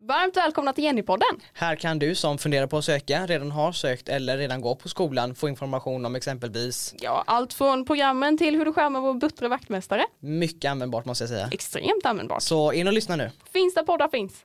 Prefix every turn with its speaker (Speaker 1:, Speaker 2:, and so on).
Speaker 1: Varmt välkomna till Jennypodden.
Speaker 2: Här kan du som funderar på att söka, redan har sökt eller redan går på skolan få information om exempelvis
Speaker 1: Ja, allt från programmen till hur du skärmar vår buttre vaktmästare.
Speaker 2: mycket användbart måste jag säga.
Speaker 1: Extremt användbart.
Speaker 2: Så in och lyssna nu.
Speaker 1: Finns där poddar finns.